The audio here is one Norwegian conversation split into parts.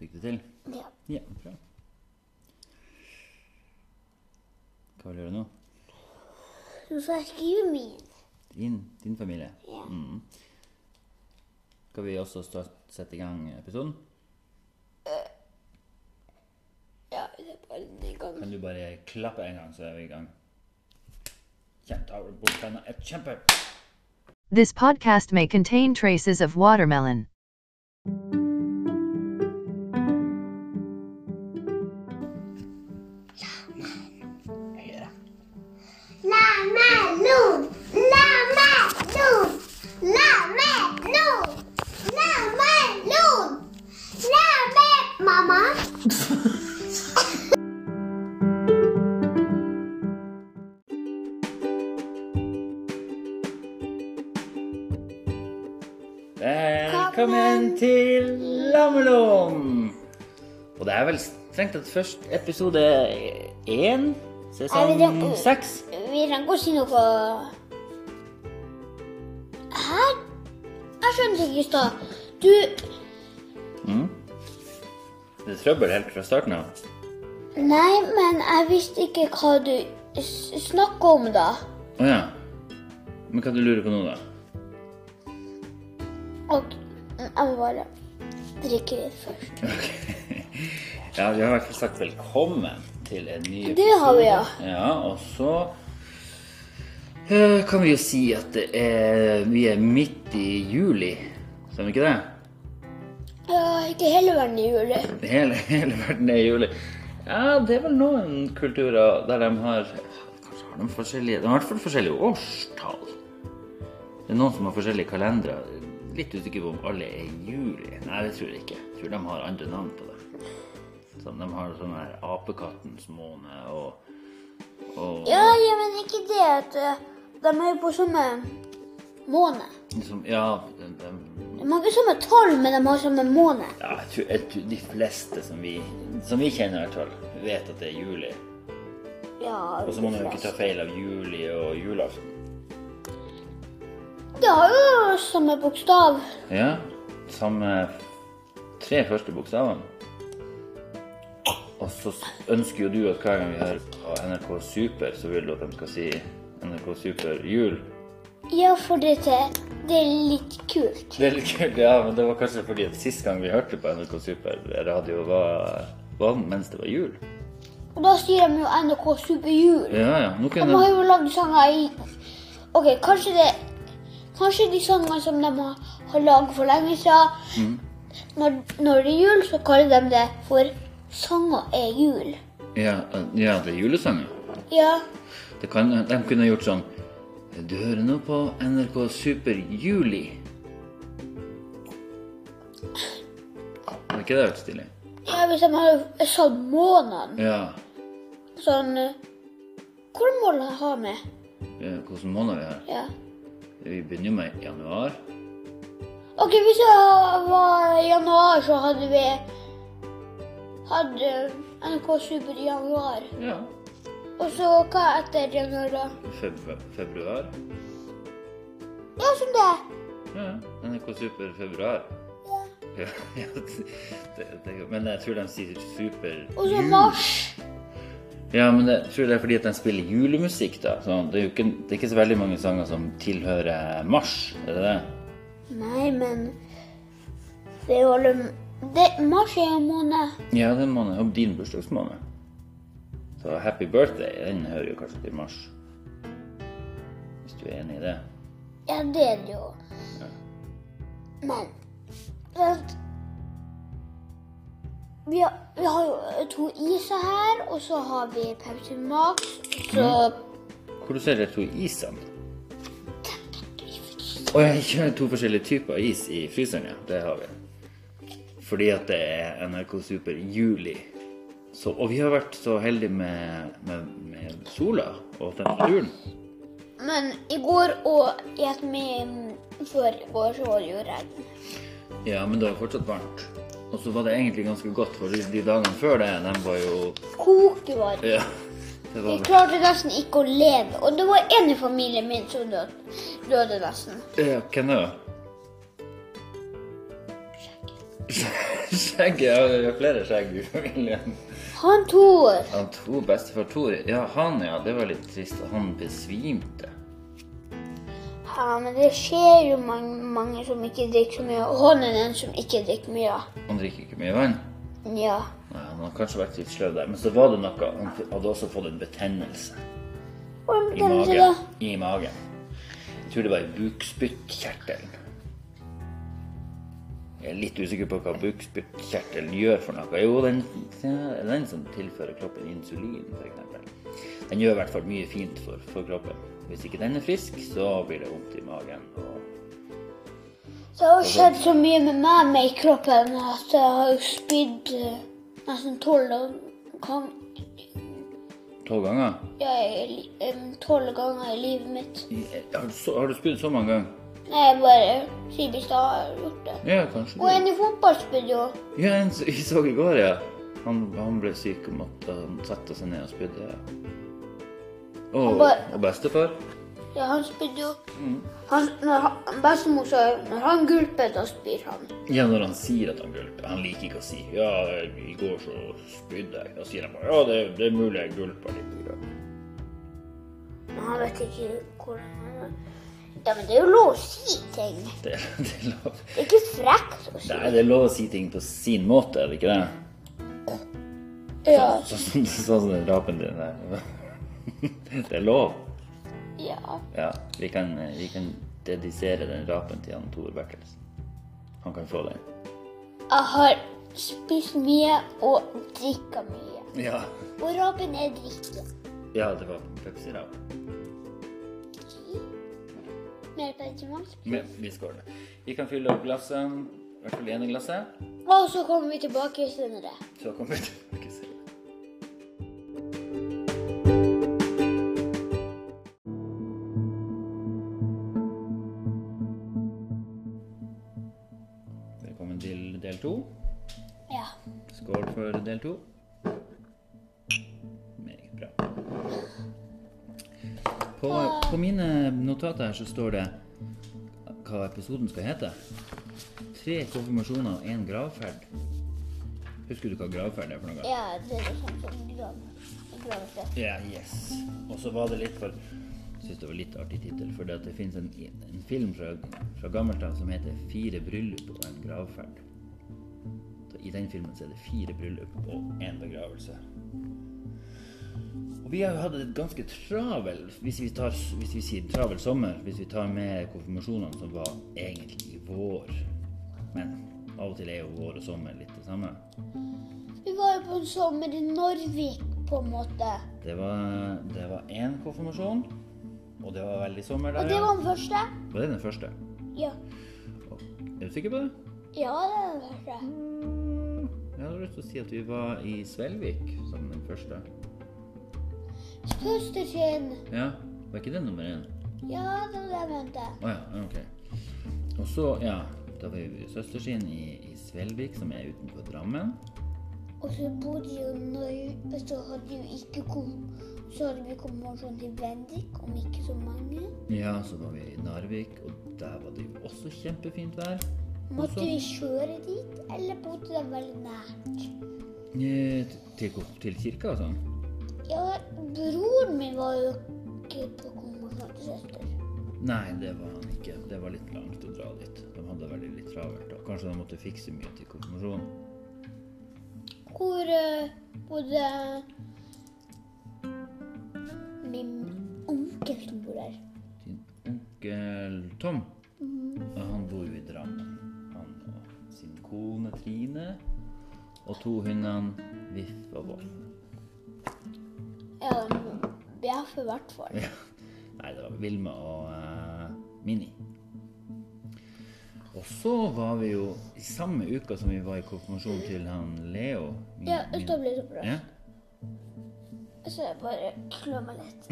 Fikk du til? Ja. Ja, bra. Hva vil du gjøre nå? Nå skal jeg skrive min. Din, din familie? Ja. Mm. Skal vi også start, sette i gang episoden? Ja, det er bare den gangen. Kan du bare klappe en gang, så er vi i gang? Kjempe, borttegnet et kjempe! This podcast may contain traces of watermelon. La meg lun! La meg lun! La meg lun! La meg lun! La meg Mamma? Velkommen til Lammelom! Og det er vel strengt tatt først episode én, Er det sesong det? seks. Vi trenger å si noe Her? Jeg skjønte ikke i stad. Du Det er trøbbel helt fra starten av. Nei, men jeg visste ikke hva du s- snakket om, da. Å ja. Men hva du lurer på nå, da? Og jeg må bare drikke litt først. Ja, vi har i hvert fall sagt velkommen til en ny episode. Det har vi, ja. Ja, og så eh, kan vi jo si at det er, vi er midt i juli. Stemmer ikke det? Ja, ikke hele verden i juli. Hele, hele verden er i juli. Ja, det er vel noen kulturer der de har Kanskje har de forskjellige De har i hvert fall forskjellige årstall. Det er noen som har forskjellige kalendere. Litt usikker på om alle er i juli. Nei, det tror jeg ikke. Jeg tror de har andre navn på det. Som de har sånn her Apekattens måned og, og Ja, ja, men ikke det at eh, de er jo på samme måned. liksom, Ja, de, de, De har ikke samme tall, men de har samme måned. ja jeg, tror, jeg tror de fleste som vi, som vi kjenner, i hvert fall, vet at det er juli. Ja, Og så må man jo ikke ta feil av juli og julaften. De har jo samme bokstav. Ja, samme tre første bokstavene. Og så ønsker jo du at hver gang vi hører på NRK Super, så vil du at de skal si NRK Super jul. Ja, for det, til- det er litt kult. Det er litt kult, ja, men det var kanskje fordi at sist gang vi hørte på NRK Super radio, var, var mens det var jul. Og da sier de jo NRK Superjul. Ja, ja. Nå De kunne har de jo lagd sanger i OK, kanskje det Kanskje de sangene som de har, har lagd for lenge siden Mm. når, når det er jul, så kaller de det for 'Sanger er jul'. ja, ja, det er julesanger. Ja. Det kan, de kunne gjort sånn Du hører nå på NRK Super Juli. Hadde ikke det vært stilig? Ja, hvis de hadde sånn måneden Ja. Sånn eh, Hvor måned jeg har med? eh, Hvordan måned vi har? Ja. Vi begynner jo med januar. OK, hvis det var i januar, så hadde vi Hadde NRK Super i januar. Ja. Og så hva etter januar, da? Februar. februar. Ja, som det. Ja. NRK Super februar. Ja. Ja, ja, det, det, men jeg tror de sier super Og så jul. mars. Ja, men jeg tror det er fordi at de spiller julemusikk, da. Så det, er jo ikke, det er ikke så veldig mange sanger som tilhører mars, er det det? Nei, men Det er jo alle det, Mars er jo en måned. Ja, det er en måned. Og din bursdagsmåned. Så happy birthday, den hører jo kanskje til mars. Hvis du er enig i det. Ja, det er det jo. Men Vent. Vi har, vi har jo eh, to iser her, og så har vi Pepsi Max. Så Hvor du ser de to isene? Og jeg kjører to forskjellige typer is i fryseren, ja. Det har vi. Fordi at det er NRK Super Juli. Så, og vi har vært så heldige med, med, med sola og temperaturen. Men i går og i ettermiddag før i går så var det jo regn. Ja, men det var fortsatt varmt. Og så var det egentlig ganske godt, for de dagene før det, de var jo Kokevarm. Ja. Det var Jeg klarte nesten ikke å leve. Og det var en i familien min som døde, døde nesten. Ja, hvem det var? Skjegget ja, det er flere skjegg i familien. Han Tor. Han to bestefar Tor Ja, han, ja. Det var litt trist. Han besvimte. Ja, men det skjer jo mange, mange som ikke drikker så mye. Og han er den som ikke drikker mye. Han drikker ikke mye vann. Ja. Nei, Han har kanskje vært litt sløv der. Men så var det noe. Han hadde også fått en betennelse. Og en I betennelse, da? magen. I magen. Jeg tror det var i bukspyttkjertelen. Jeg er litt usikker på hva bukspyttkjertelen gjør for noe. Jo, den, det er den som tilfører kroppen insulin, f.eks. Den gjør i hvert fall mye fint for, for kroppen. Hvis ikke den er frisk, så blir det vondt i magen. Og Det har skjedd så mye med meg med i kroppen at jeg har jo spydd eh, nesten tolv ganger, tolv ganger ja, i li- em, 12 ganger i livet mitt. I- Har du, så- har du spydd så mange ganger? Nei, jeg bare sier hvis jeg har gjort det. Ja, kanskje Og du en i fotball spydde jo. Ja, en som vi så i går, ja. Han, han ble syk og måtte han sette seg ned og spydde. Ja. Han Og, bare- og bestefar? Ja, han spydde jo. Mm. Han, når han, bestemor sa når han gulper, da spyr han. Ja, når han sier at han gulper. Han liker ikke å si ja, i går så spydde jeg. Da sier han bare ja, det, det er mulig jeg gulpa litt. i dag». Men han vet ikke hvordan han er. Ja, men det er jo lov å si ting. Det, det er lov. Det er ikke frekt å si. Nei, det er lov å si ting på sin måte, er det ikke det? Ja. Sånn som sånn som den rapen din der. Det er lov. ja. Ja, vi kan, vi kan dedisere den rapen til han Tor Bertelsen. Han kan få den. Jeg har spist mye og drikka mye. Ja. Og rapen er drikke. Ja, det var Pepsi-rap. Mer Petermanns. Men vi skåler. Vi kan fylle opp glasset. I hvert fall det ene glasset. Og så kommer vi tilbake senere. Så kommer vi tilbake senere. Velkommen til del to. Ja. Skål for del to. Meget bra. På, på mine notater her så står det hva episoden skal hete. Tre konfirmasjoner og én gravferd. Husker du hva gravferd er for noe? ja det er sånn som grav. gravete. Ja, yes. Og så var det litt for Jeg syns det var litt artig tittel, for det fins en, en film fra, fra gammelt av som heter 'Fire bryllup og en gravferd'. Så I den filmen så er det fire bryllup og én begravelse. Og vi har jo hatt et ganske travel hvis vi, tar, hvis vi sier travel sommer, hvis vi tar med konfirmasjonene som var egentlig i vår. Men av og til er jo vår og sommer litt det samme. Vi var jo på en sommer i Norvik, på en måte. Det var, det var én konfirmasjon, og det var veldig sommer Og der. det ja. var den første. Var det den første? Ja. Er du sikker på det? Ja, det er den første. Jeg hadde lyst til å si at vi var i Svelvik som den første. Søster sin. Ja, var ikke det nummer én? Ja, det var det jeg mente. Å ja, ok. Og så, ja, da var vi i Søsterskinn i, i Svelvik, som er utenfor Drammen. Og så bodde jo Norge, så hadde jo ikke kom, så hadde vi konfirmasjon til Bendik, om ikke så mange. Ja, så var vi i Narvik, og der var det jo også kjempefint vær. Måtte så- vi kjøre dit, eller bodde det veldig nært? Eh, Til, ko- til kirka og sånn. Ja, broren min var jo ikke på konfirmasjon til søster. Nei, det var han ikke. Det var litt langt å dra dit. De hadde det veldig litt travelt. Og kanskje de måtte fikse mye til konfirmasjonen. Hvor eh, bodde min onkel som bor der? Din onkel Tom, ja, han bor jo i Drammen. Han og sin kone Trine og to hundene Viff og Voff. Ja, Bjeffe i hvert fall. Nei, det var Vilma og eh, Mini. Og så var vi jo i samme uka som vi var i konfirmasjon til han Leo. min- Ja, min- da ble det bra. Ja? Så jeg bare klør meg litt.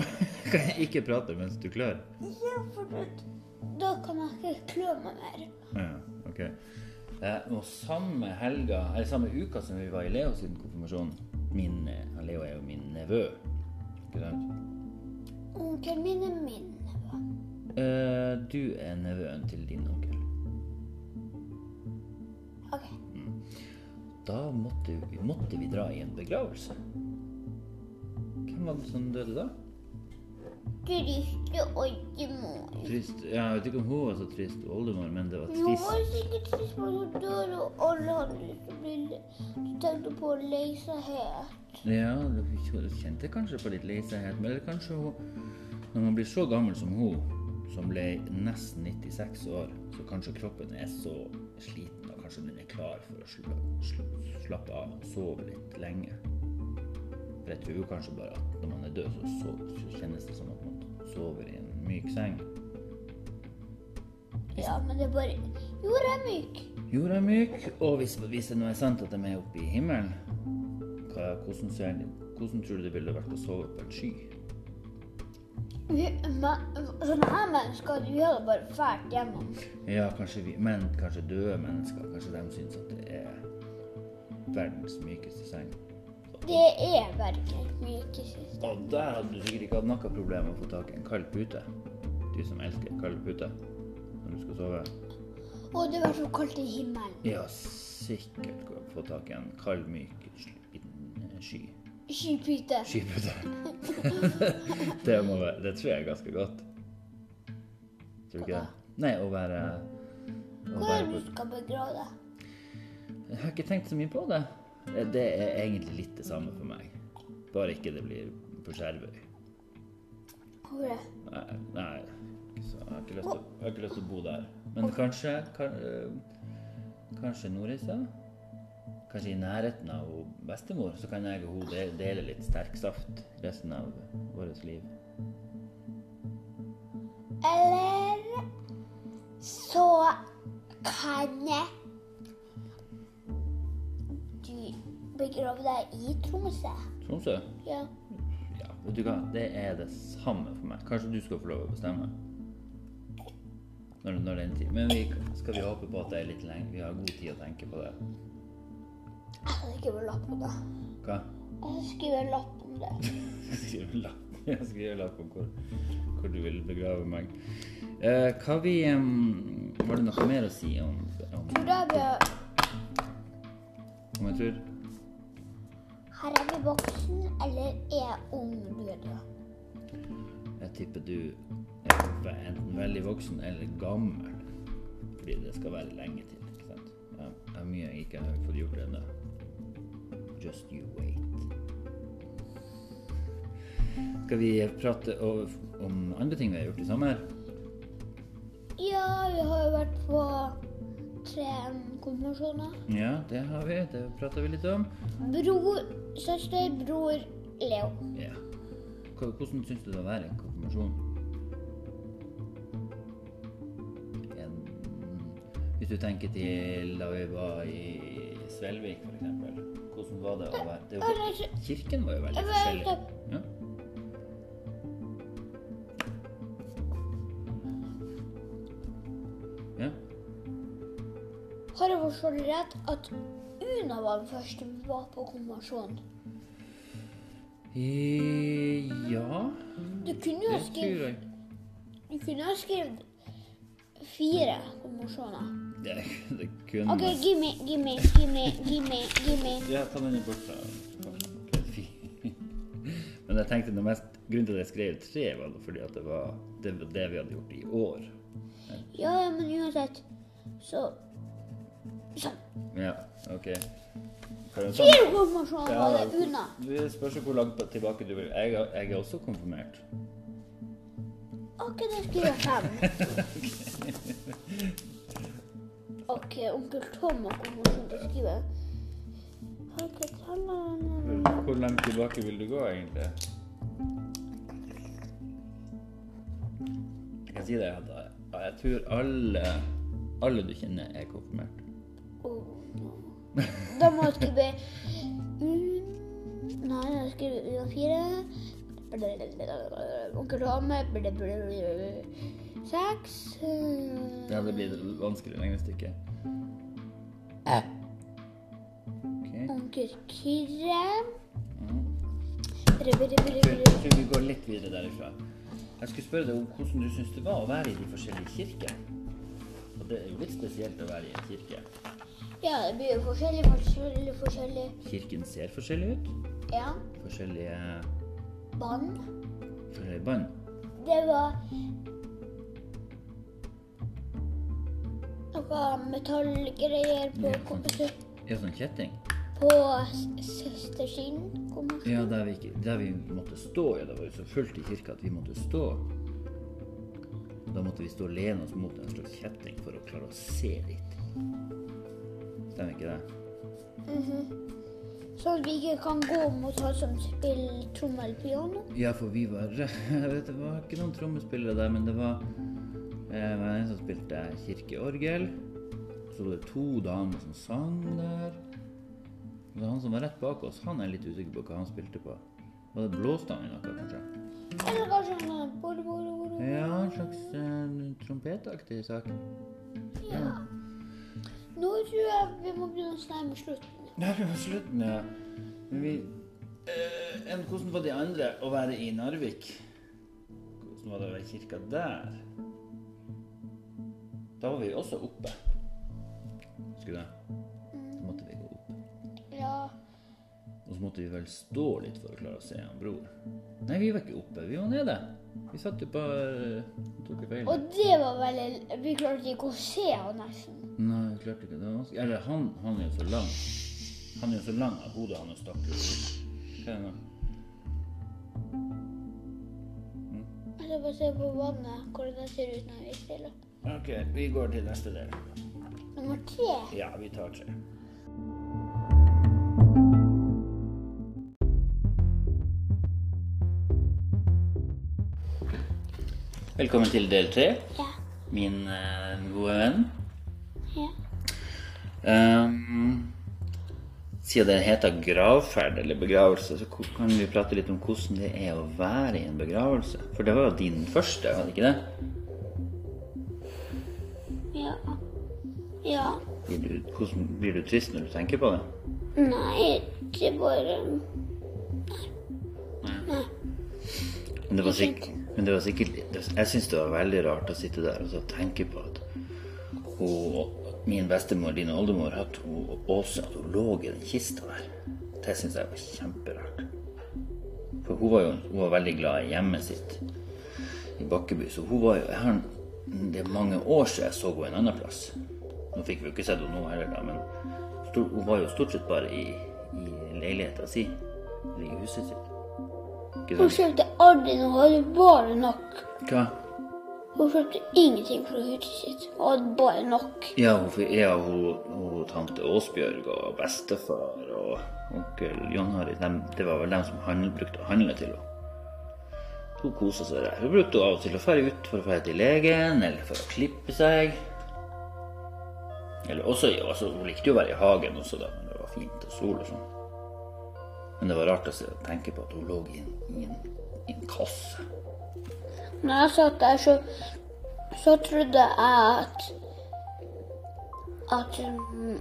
Kan jeg ikke prate mens du klør? Ja, for da, da kan jeg ikke klø meg mer. Ja, ok. Eh, og samme helga, eller samme uka som vi var i Leo sin konfirmasjon min, eh, han Leo er jo min nevø. Ikke sant? Onkelen min er min. nevø. Eh, du er nevøen til din onkel. Ok. da måtte, vi- måtte vi dra i en begravelse. Hvem var det som døde da? Triste oldemor. Trist ja, Jeg vet ikke om hun var så trist, oldemor, men det var Hun var trist. sikkert trist for hun dør, og alle hadde lyst til å bli le- De tenkte på å lei seg helt. Ja, hun kjente kanskje på litt leisehet, men eller kanskje hun Når man blir så gammel som hun, som ble nesten 96 år, så kanskje kroppen er så sliten, og kanskje den er klar for å sla- sla- slappe av og sove litt lenge. For jeg tror kanskje bare at når man er død, så, sov- så kjennes det som at man sover i en myk seng. Ja, men det bare Jorda er myk. Jorda er myk, og hvis, hvis det nå er sant at de er oppe i himmelen, hva, hvordan, ser, de- hvordan tror du det ville vært å sove på en sky? Vi- men- Sånne her mennesker de gjør det bare fælt gjennom. Ja, kanskje vi, men kanskje døde mennesker, kanskje de syns at det er verdens mykeste seng. Det er verken myke siste. Og der hadde du sikkert ikke hatt noe problem med å få tak i en kald pute. Du som elsker kald pute når du skal sove. Og det var så kaldt i himmelen. Ja, sikkert gå og få tak i en kald, myk sl- liten sky. Skypute. Skipute. det, må være, det tror jeg er ganske godt. Tror du ikke det? Nei, å være, å Hvor er være det på, du skal begrave deg? Jeg har ikke tenkt så mye på det. Eh, Det er egentlig litt det samme for meg. Bare ikke det blir på Skjervøy. Hvor er det? Nei, nei så jeg, har ikke lyst til, jeg har ikke lyst til å bo der. Men kanskje kan, eh, Kanskje Nordreisa? Kanskje i nærheten av hun bestemor, så kan jeg og hun de- dele litt sterk saft resten av vårt liv. Eller så kan du begrave deg i Tromsø. Tromsø? Ja. Ja, vet du hva? Det er det samme for meg. Kanskje du skal få lov å bestemme? Når, når den tid. Men vi, skal vi håpe på at det er litt lenge? Vi har god tid å tenke på det. Jeg skal skrive lapp om det. Hva? Jeg skal skrive lapp om det. Skrive lapp. Jeg skriver lapp om hvor, hvor du vil begrave meg. Eh, hva vi em, Var det noe mer å si om, om, Tror jeg vi har om en tur? Her er vi voksen, eller er ung du er da? Jeg tipper du er ve- enten veldig voksen eller gammel. Fordi det skal være lenge til. ikke sant? Ja, det er mye jeg ikke har fått gjort ennå. Just you wait. Skal vi prate o- om andre ting vi har gjort i sommer? Ja, vi har jo vært på tre konfirmasjoner. Ja, det har vi. Det prater vi litt om. Bror, søster, bror, Leo. Ja. Hva- Hvordan syns du det var en konfirmasjon? En, hvis du tenker til da vi var i Svelvik, for eksempel. Hvordan var det å være det var, Eller Kirken var jo veldig forskjellig. Ja. Ja. Har jeg forstått rett at Una var den første vi var på konfirmasjonen? I, Eh, ja, Du kunne det jo ha tror skrevet, jeg. du kunne ha skrevet fire konfirmasjoner. Det, det kunne OK, give me, give me, give me, give me, give me. Ja, ta den i bort fra Fy. Men jeg tenkte det mest Grunnen til at jeg skrev tre, var det fordi at det var det, var det vi hadde gjort i år. Ja, ja, men uansett, så Sånn. Ja, OK. Kan du ta Fire konfirmasjoner Ja, var det Una. Det spørs jo hvor langt tilbake du vil. Jeg, er- jeg er også konfirmert. OK, da skriver jeg fem. OK, onkel Tom har konfirmasjon. Da skriver jeg Onkel Tom har- Hvor langt tilbake vil du gå, egentlig? Jeg kan si det at jeg, jeg tror alle, alle du kjenner, er konfirmert. Oh, no. Da må jeg skrive mm, Nei, jeg skriver Una 4. Onkel Hame Seks eh, Ja, det blir et vanskelig regnestykke. Ok. Onkel Kyrre Jeg tror vi går litt videre derifra. Jeg skulle spørre deg om hvordan du syns det var å være i de forskjellige kirkene. Og det er jo litt spesielt å være i en kirke. Ja, det blir jo forskjellig, forskjellig, forskjellig. Kirken ser forskjellig ut. Ja. Forskjellige, Bånd. forskjellige bånd. Det var noe metallgreier på, Ja, sant. kompis- Ja, sånn kjetting. på s- søstersiden. kom- Ja, der vi, ikke, der vi måtte stå. Ja, det var jo så fullt i kirka at vi måtte stå. Da måtte vi stå og lene oss mot en slags kjetting for å klare å se litt. Stemmer ikke det? Sånn at vi ikke kan gå mot han som spiller tromme eller piano. Ja, for vi var Jeg vet det var ikke noen trommespillere der, men det var eh, det var en som spilte kirkeorgel. Så var det to damer som sang der. Og han som var rett bak oss, han er litt usikker på hva han spilte på. Var det blåstang eller noe, kanskje? Eller kanskje han har bor, bor, bor, bor. Ja, en slags eh, trompetaktig sak. Ja. Nå tror jeg vi må begynne å snakke med slutten. Nei, vi var slutten, ja. Men vi eh, enn Hvordan var de andre å være i Narvik? Hvordan var det å være i kirka der? Da var vi også oppe. Husker du det? Da måtte vi gå opp. Ja. Og så måtte vi vel stå litt for å klare å se han bror. Nei, vi var ikke oppe. Vi var nede. Vi satt jo på eh, Tok jo feil. Og det var veldig Vi klarte ikke å se han nesten. Nei, vi klarte ikke det. var vanskelig. Eller han, han er jo så lang. Han er jo så lang at hodet hans stakk jo ut. Hva er det nå? Jeg skal bare se på vannet, hvordan det ser ut når vi er stille. Ok, vi går til neste del. Nummer tre. Ja, vi tar tre. Velkommen til del tre, Ja. min eh, gode venn. ja. Ehm, siden den heter gravferd eller begravelse, så ko- kan vi prate litt om hvordan det er å være i en begravelse. For det var jo din første, var det ikke det? Ja. Ja. Blir du, hvordan, blir du trist når du tenker på det? Nei, det er bare Men det var sikkert, men det var sikkert det- Jeg syns det var veldig rart å sitte der og så tenke på at hun, min bestemor, din oldemor, at hun Åse at hun lå i den kista der. Det syns jeg var kjemperart. For hun var jo hun var veldig glad i hjemmet sitt i Bakkeby, så hun var jo jeg har, Det er mange år siden jeg så henne en annen plass. Nå fikk vi jo ikke sett henne nå heller, da, men stor, hun var jo stort sett bare i, i leiligheta si. Eller i huset sitt. Ikke Hun sant? kjøpte aldri noe, hun hadde bare nok. Hva? Hun kjøpte ingenting fra huset sitt, hun hadde bare nok. Ja, hun, fikk- ja, hun, hun tante Åsbjørg og bestefar og onkel John Harry, dem, det var vel dem som handel, brukte å handle til henne. Hun kosa seg der. Hun brukte av og til å dra ut for å dra til legen eller for å klippe seg. Eller også, ja, altså, Hun likte jo å være i hagen også, da, men det var fint og sol og sånn. Men det var rart å se- å tenke på at hun lå i en, i en, i en kasse. Når jeg satt der, så, så trodde jeg at at, mm,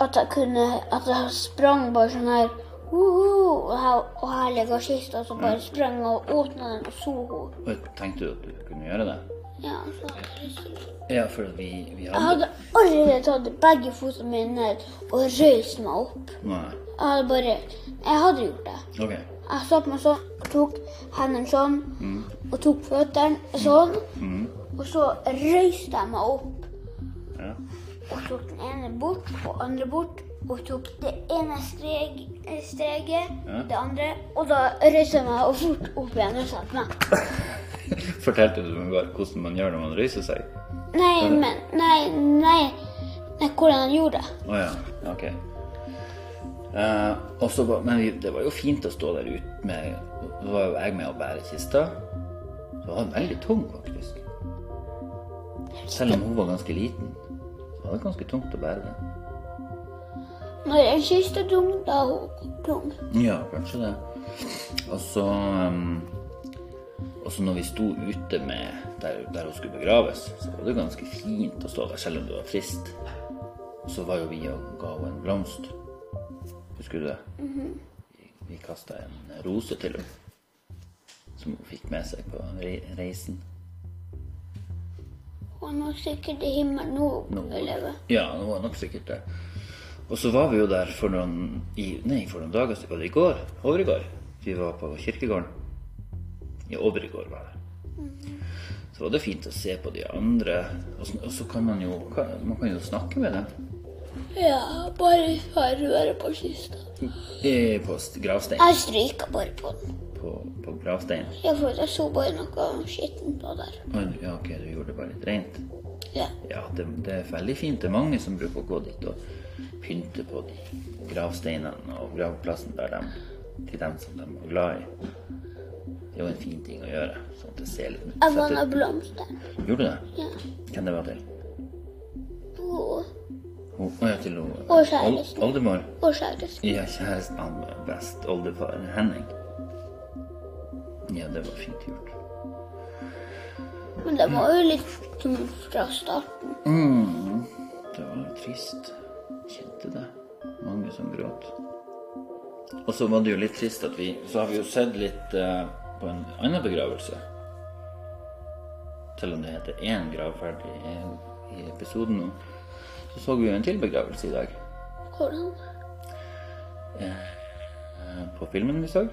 at jeg kunne At jeg sprang bare sånn her «Uhu», og her, og her ligger kista, og så bare sprang jeg og åpna den og så henne. Og jeg tenkte jo at du kunne gjøre det. Ja, så hadde jeg lyst til å- Ja, for vi, vi Jeg hadde hadde aldri tatt begge føttene mine ned og røyst meg opp. Nei. Jeg hadde bare Jeg hadde gjort det. Ok. Jeg satt meg sånn, og tok hendene sånn, Mm. og tok føttene sånn. Og så røyste jeg meg opp Ja. og tok den ene bort og andre bort. Og tok det ene streg, streget, Ja. det andre, og da røyste jeg meg og fort opp igjen og satte meg. Fortalte du meg bare hvordan man gjør når man reiser seg? Nei, men Nei, nei. Nei, hvordan han gjorde det. Å ja, ok. Eh, og så var, men vi, det var jo fint å stå der ute med Så var jo jeg med å bære kista. Så var den veldig tung, faktisk. Selv om hun var ganske liten, så var det ganske tungt å bære den. Når en kiste er tung, da er hun tung. Ja, kanskje det. Og så um, Og så når vi sto ute med der, der hun skulle begraves, så var det jo ganske fint å stå der, selv om det var trist. Og så var jo vi og ga henne en blomst. Husker du det? Vi, vi kasta en rose til henne. Som hun fikk med seg på re reisen. Å Og nå sikkert i himmelen nå overlever. Ja, det var nok sikkert det. Og så var vi jo der for noen i, Nei, for noen dager siden. Var det i går? Overigård. Vi var på kirkegården. I Overigård var det. Så var det fint å se på de andre. Og så, og så kan man jo kan- Man kan jo snakke med dem. Ja, bare ta røret på kista. I, på st- gravstein. Jeg stryker bare på den. På, på gravstein. Jeg følte jeg så bare noe skittent på der. Oi, Ja, ok, du gjorde det bare litt rent. Ja. Ja, det, det er veldig fint. Det er mange som bruker å gå dit og pynte på de gravsteinene og gravplassen der de, til dem som de var glad i. Det er jo en fin ting å gjøre. Sånn at det ser litt Jeg sett vanna ut. blomster. Gjorde du det? Ja. Hvem det var til? Og, Hun oh, ja, til hun, Og kjæresten. Ol- Oldemor. og kjæresten. Ja, kjæresten han var best. Oldefar Henning. Ja, det var fint gjort. Men det var jo litt som fra starten. Mm. Det var jo trist. Kjente det. Mange som gråt. Og så var det jo litt trist at vi Så har vi jo sett litt eh, på en annen begravelse. Selv om det heter én gravferd i, i episoden nå, så så vi jo en til begravelse i dag. Hvordan? eh, På filmen vi så.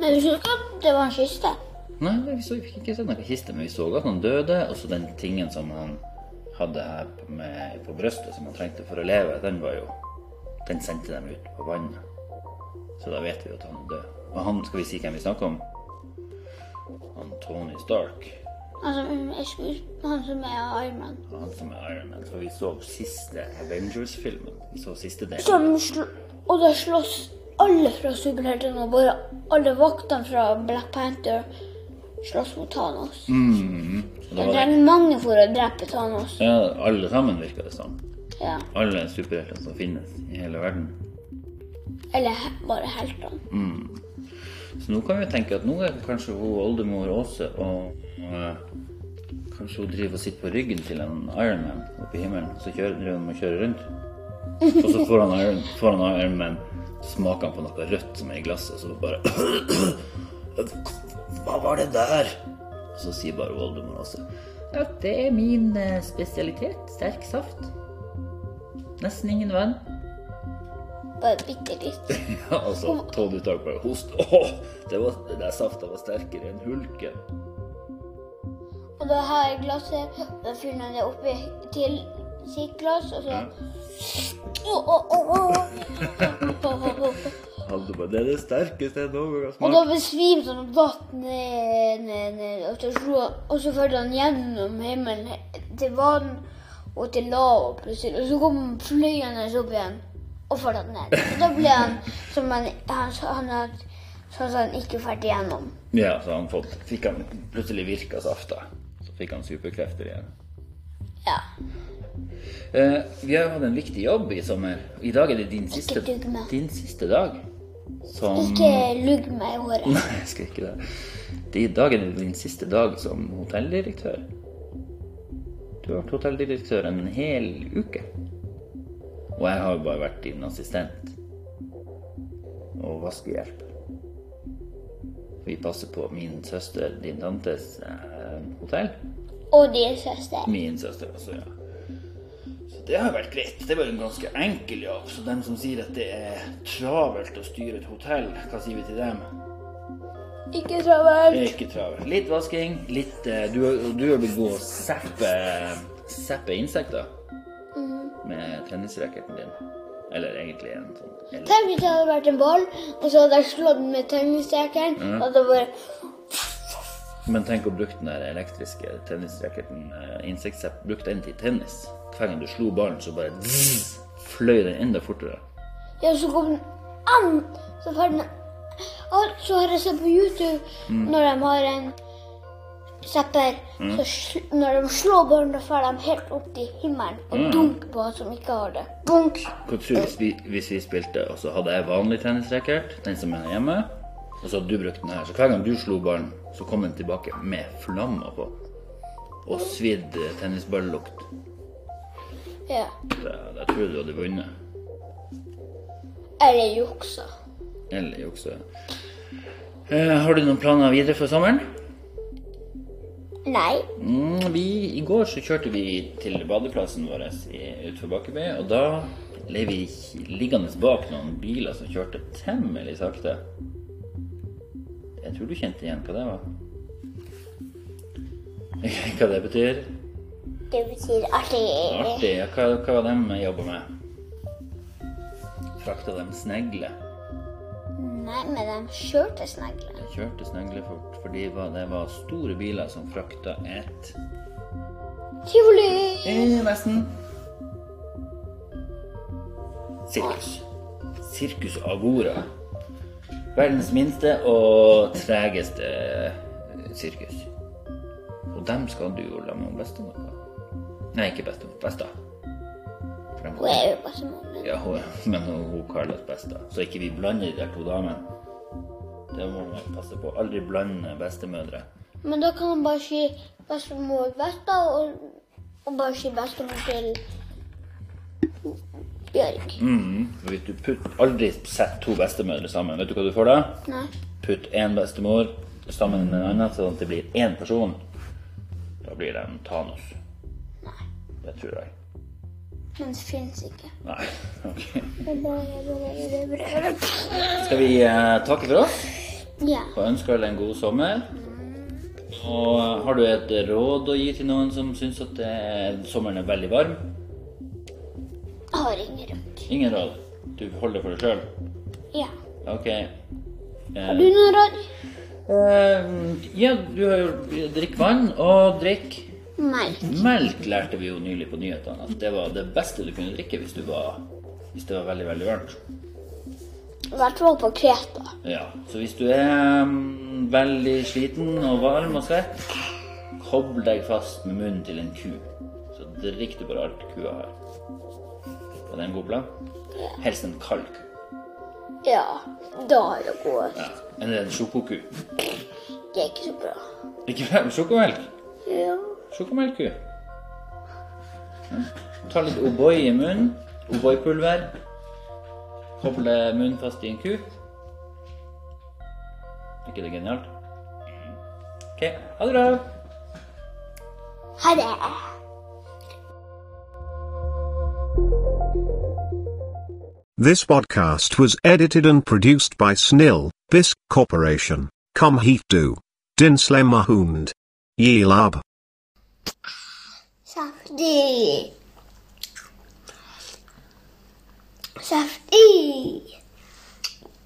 Men husker du ikke at det var en kiste? Nei, vi, så, vi fikk ikke sett noen kiste, men vi så at han døde, og så den tingen som han hadde her på- med, på brøstet, som han trengte for å leve, den var jo Den sendte dem ut på vannet. Så da vet vi jo at han er død. Og han, skal vi si hvem vi snakker om? Han Tony Stark. Han som er, skues- han som er Ironman. Han som er Iron Man. For vi så siste Avengers-filmen. Vi så siste del. Som sl og da slåss alle fra superheltene og bare alle vaktene fra Black Panther slåss mot Thanos. Og da Det var det, er mange for å drepe Thanos. ja, alle sammen virka det sånn. Ja. Alle superheltene som finnes i hele verden. Eller he- bare heltene. Så nå kan vi tenke at nå er kanskje hun oldemor Åse og eh, Kanskje hun driver og sitter på ryggen til en Ironman oppe i himmelen, så kjører driver hun og kjører rundt. Og så får han Iron, får han Iron Man, så smaker han på noe rødt som er i glasset, og så bare Hva var det der? Og så sier bare oldemor Åse Ja, det er min eh, spesialitet. Sterk saft. Nesten ingen vann. Bare bitte litt. Ja, altså, Tony Stark bare host. Åh, det var, den der safta var sterkere enn hulken. Og da har jeg glasset, og da fyller han det oppi til sitt glass, og så Åh, åh, åh, åh. Åh, åh, åh. Han bare, det er det sterkeste jeg noen gang har Og da smakt. besvimte han og datt ned, ned, ned. Og så, slo, han- og så førte han gjennom himmelen he- til vann og til lava plutselig. Og så kom han flyende opp igjen og førte han ned. Og da ble han som han, han, sa- han, had- sånn at han ikke førte gjennom. Ja, så han fått, fikk han plutselig virka safta. Så fikk han superkrefter igjen. Ja. Eh, vi har hatt en viktig jobb i sommer. I dag er det din siste, dugg meg. din siste dag. Som Ikke lugg meg i håret. Nei, jeg skal ikke det. det. I dag er det din siste dag som hotelldirektør. Du har vært hotelldirektør en hel uke. Og jeg har bare vært din assistent. Og vaskehjelp. Vi passer på min søster, din tantes eh, hotell. Og din søster. Min søster også, ja. Så det har vært greit. Det var en ganske enkel jobb. Så dem som sier at det er travelt å styre et hotell, hva sier vi til dem? Ikke travel. Det er ikke travel. Litt vasking, litt eh, Du, og du har blitt god å zappe, zappe insekter med tennisracketen din. Eller egentlig en sånn eller, Tenk hvis det hadde vært en ball, og så hadde jeg slått den med tennisracketen, og det bare Men tenk å bruke den der elektriske tennisracketen, eh, insektsepp, bruk den til tennis. Hver gang du slo ballen, så bare zzz, fløy den enda fortere. Ja, så kom den an, så får den Og så har jeg sett på YouTube når de har en zapper så sl Når de slår ballen, da får de helt opp til himmelen og dunker på han som ikke har det. Bunk! Hva tror du hvis vi, hvis vi spilte, og så hadde jeg vanlig tennisracket, den som er hjemme, og så hadde du brukt den her, så hver gang du slo ballen, så kom den tilbake med flammer på. Og svidd eh, tennisballlukt. Ja. Da, da tror jeg du hadde vunnet. Eller juksa. Eller juksa. Eh, har du noen planer videre for sommeren? Nei. Mm, vi, I går så kjørte vi til badeplassen vår i- utenfor Bakkeby, og da ble vi liggende bak noen biler som kjørte temmelig sakte. Jeg tror du kjente igjen hva det var. Hva det betyr? Det betyr artig. Artig. Ja, Hva, hva var de jobba med? Frakta de snegler? Nei, men de kjørte snegler. De kjørte snegler fort, fordi det var- det var store biler som frakta et Tivoli! Eh, Nesten. Sirkus. Sirkus Agora. Verdens minste og tregeste eh, sirkus. Og dem skal du jo la meg bestemor på. Nei, ikke bestemor. Besta. For dem- Hun er jo bare som hun er. Ja, hun, men hun, hun kalles besta. Så ikke vi blander de der to damene. Det må man passe på. Aldri blande bestemødre. Men da kan man bare si bestemor Vesta og, og bare si bestemor til Bjørg. Mhm. Og Hvis du putt, aldri sett to bestemødre sammen, vet du hva du får da? Nei. Putt én bestemor sammen med en annen, sånn at det blir én person. Da blir de Thanos. Det tror jeg. Men det fins ikke. Nei, ok. Ja. Skal vi eh, takke for oss og ønske alle en god sommer? Og eh, har du et råd å gi til noen som syns at eh, sommeren er veldig varm? Jeg har ingen råd. Ingen råd. Du holder for deg sjøl? Ja. Ok. Eh, Har du noen råd? Eh, ja, du har jo Drikk vann, og drikk Nei. Melk lærte vi jo nylig på nyhetene at det var det beste du kunne drikke hvis, du var, hvis det var veldig, veldig varmt. I hvert fall på Kreta. Ja, Så hvis du er mm, veldig sliten og varm og svett, kobl deg fast med munnen til en ku. Så drikker du bare alt kua har. Var det en god plan? Helst en kald ku. Ja. Da har det gått. Ja. En en sjokoku. Det er ikke så bra. Ikke vel? Sjokomelk? Ja. Sjokomelkku. Ta litt O'boy i munnen. O'boy-pulver. Koble munnen fast i en ku. Er ikke det genialt? OK. Ha det bra. Ha det. This podcast was edited and produced by Snil, Bisc Corporation, Kom hit du. Dinsle Mahund. Yilab. Saftig. Saftig.